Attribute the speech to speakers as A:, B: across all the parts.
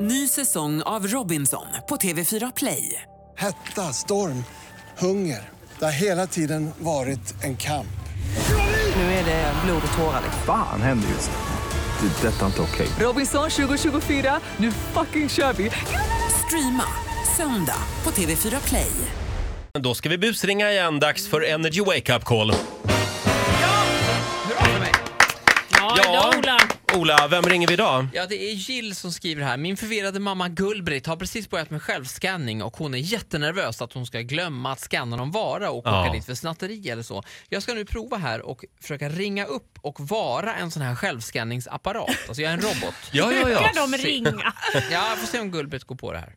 A: Ny säsong av Robinson på TV4 Play.
B: Hetta, storm, hunger. Det har hela tiden varit en kamp.
A: Nu är det blod och tårar. liksom.
C: Fan händer just nu. Det. är Detta är inte okej.
A: Robinson 2024, nu fucking kör vi! Streama söndag på TV4 Play.
D: Då ska vi busringa igen. Dags för Energy Wake Up Call.
E: Ja, idag, Ola.
D: Ola, vem ringer vi idag?
E: Ja, det är Jill som skriver här. Min förvirrade mamma Gullbritt har precis börjat med självskanning och hon är jättenervös att hon ska glömma att skanna någon vara och
D: Ja.
E: åka dit för snatteri eller så. Jag ska nu prova här och försöka ringa upp och vara en sån här självskanningsapparat. Alltså jag är en robot.
D: Ja, ja, ja.
F: de ringa?
E: Ja, jag får se om Gullbritt går på det här.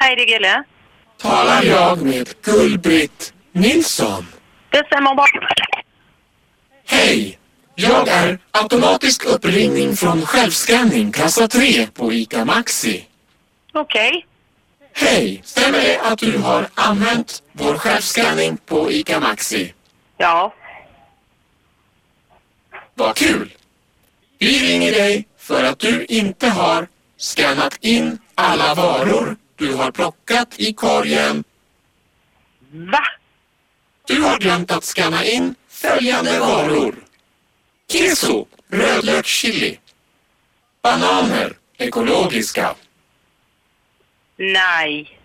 F: Hej, det är Gille.
G: talar jag med Gull-Britt Nilsson.
F: Det stämmer bra.
G: Hej! Jag är automatisk uppringning från självskanning kassa 3 på ICA Maxi.
F: Okej.
G: Hej! Stämmer det att du har använt vår självskanning på ICA Maxi?
F: Ja.
G: Vad kul! Vi ringer dig för att du inte har skannat in alla varor du har plockat i korgen.
F: Va?
G: Du har glömt att skanna in följande varor. Keso, rödlökschili. Bananer, ekologiska.
F: Nej.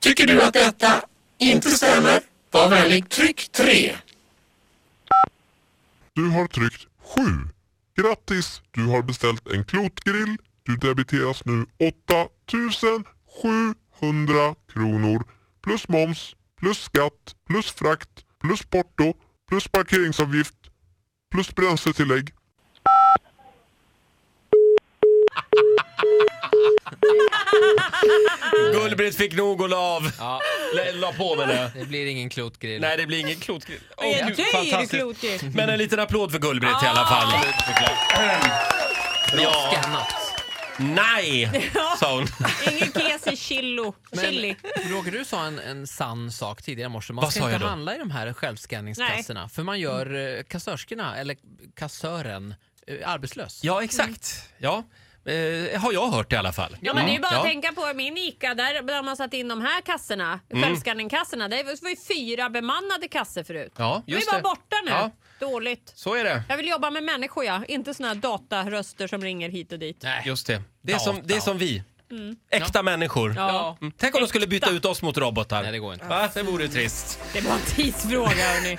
G: Tycker du att detta inte stämmer? Var vänlig tryck 3.
H: Du har tryckt 7. Grattis, du har beställt en klotgrill. Du debiteras nu 8700 kronor plus moms, plus skatt, plus frakt, plus porto, plus parkeringsavgift, plus bränsletillägg.
D: Gullbritt fick nog och la av.
E: Ja,
D: La- La på med det.
E: det blir ingen klotgrill.
D: Nej, det blir ingen klotgrill. Åh,
F: Det är
D: gud,
F: dig
D: fantastiskt.
F: det är klotgrill.
D: Men en liten applåd för Gullbritt i alla fall.
E: Bra
D: Ja,
E: skannat.
D: nej, sa hon.
F: Ingen kes i kilo. chili.
E: eh, Roger, du sa en, en sann sak tidigare i morse. Man
D: Vad
E: ska
D: sa
E: inte
D: jag då?
E: handla i de här självskanningskassorna för man gör eh, kassörskorna, eller kassören, eh, arbetslös.
D: Ja, exakt. Ja, eh, har jag hört i alla fall.
F: Ja, men det är ju bara
D: Ja.
F: att tänka på min ICA, där, där man satt in de här kassorna, självskanningkassorna. Det var ju fyra bemannade kassor förut.
D: Ja,
F: de är ju
D: just
F: bara
D: det.
F: borta nu.
D: Ja.
F: Dåligt.
D: Så är det.
F: Jag vill jobba med människor, ja. Inte såna här dataröster som ringer hit och dit. Mm.
E: Nej.
D: Just det. Det är
E: Data.
D: som, det är som vi. Äkta människor.
F: Ja.
D: Mm. Tänk om de skulle byta ut oss mot robotar.
E: Nej, det går inte.
D: Va? Det vore ju trist.
F: Det var en tidsfråga, hörni.